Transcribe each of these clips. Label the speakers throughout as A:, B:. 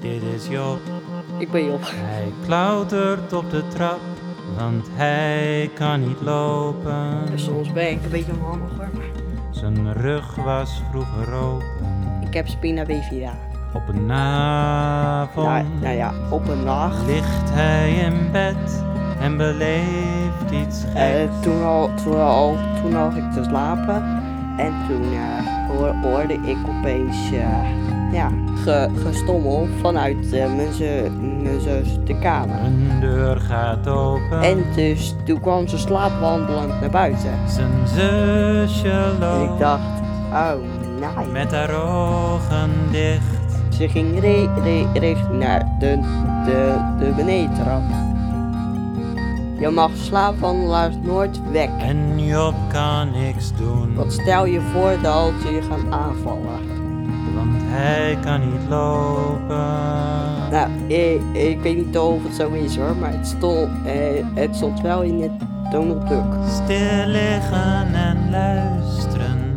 A: Dit is Job,
B: Ik ben Job.
A: hij klautert op de trap, want hij kan niet lopen.
B: Soms ben ik een beetje onhandig hoor. maar
A: Zijn rug was vroeger open.
B: Ik heb spina bifida.
A: Op een avond
B: Nou, nou ja, op een nacht.
A: ligt hij in bed en beleeft iets geks.
B: Eh, toen, al, toen, al, toen al ging ik te slapen. En toen eh, hoor- hoorde ik opeens eh, ja, ge- gestommel vanuit eh, mijn, ze, mijn zus de kamer.
A: Een deur gaat open,
B: En dus toen kwam ze slaapwandelend naar buiten.
A: zijn zusje
B: Dus
A: loopt
B: ik dacht, oh nee.
A: met haar ogen dicht.
B: Ze ging re- re- richting naar de, de, de benedentrap. Je mag slaapwandelaars nooit wekken.
A: En Job kan niks doen,
B: Want stel je voor dat ze je gaan aanvallen.
A: want hij kan niet lopen.
B: Nou, ik, ik weet niet of het zo is hoor, maar het stond, eh, het stond wel in het Donald Duck.
A: Stil liggen en luisteren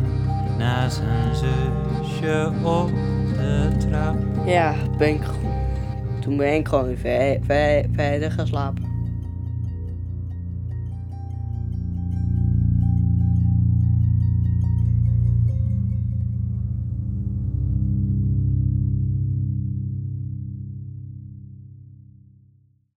A: naar zijn zusje op de trap.
B: Ja, ben ik, gewoon- toen ben ik gewoon weer ver- ver- verder gaan slapen.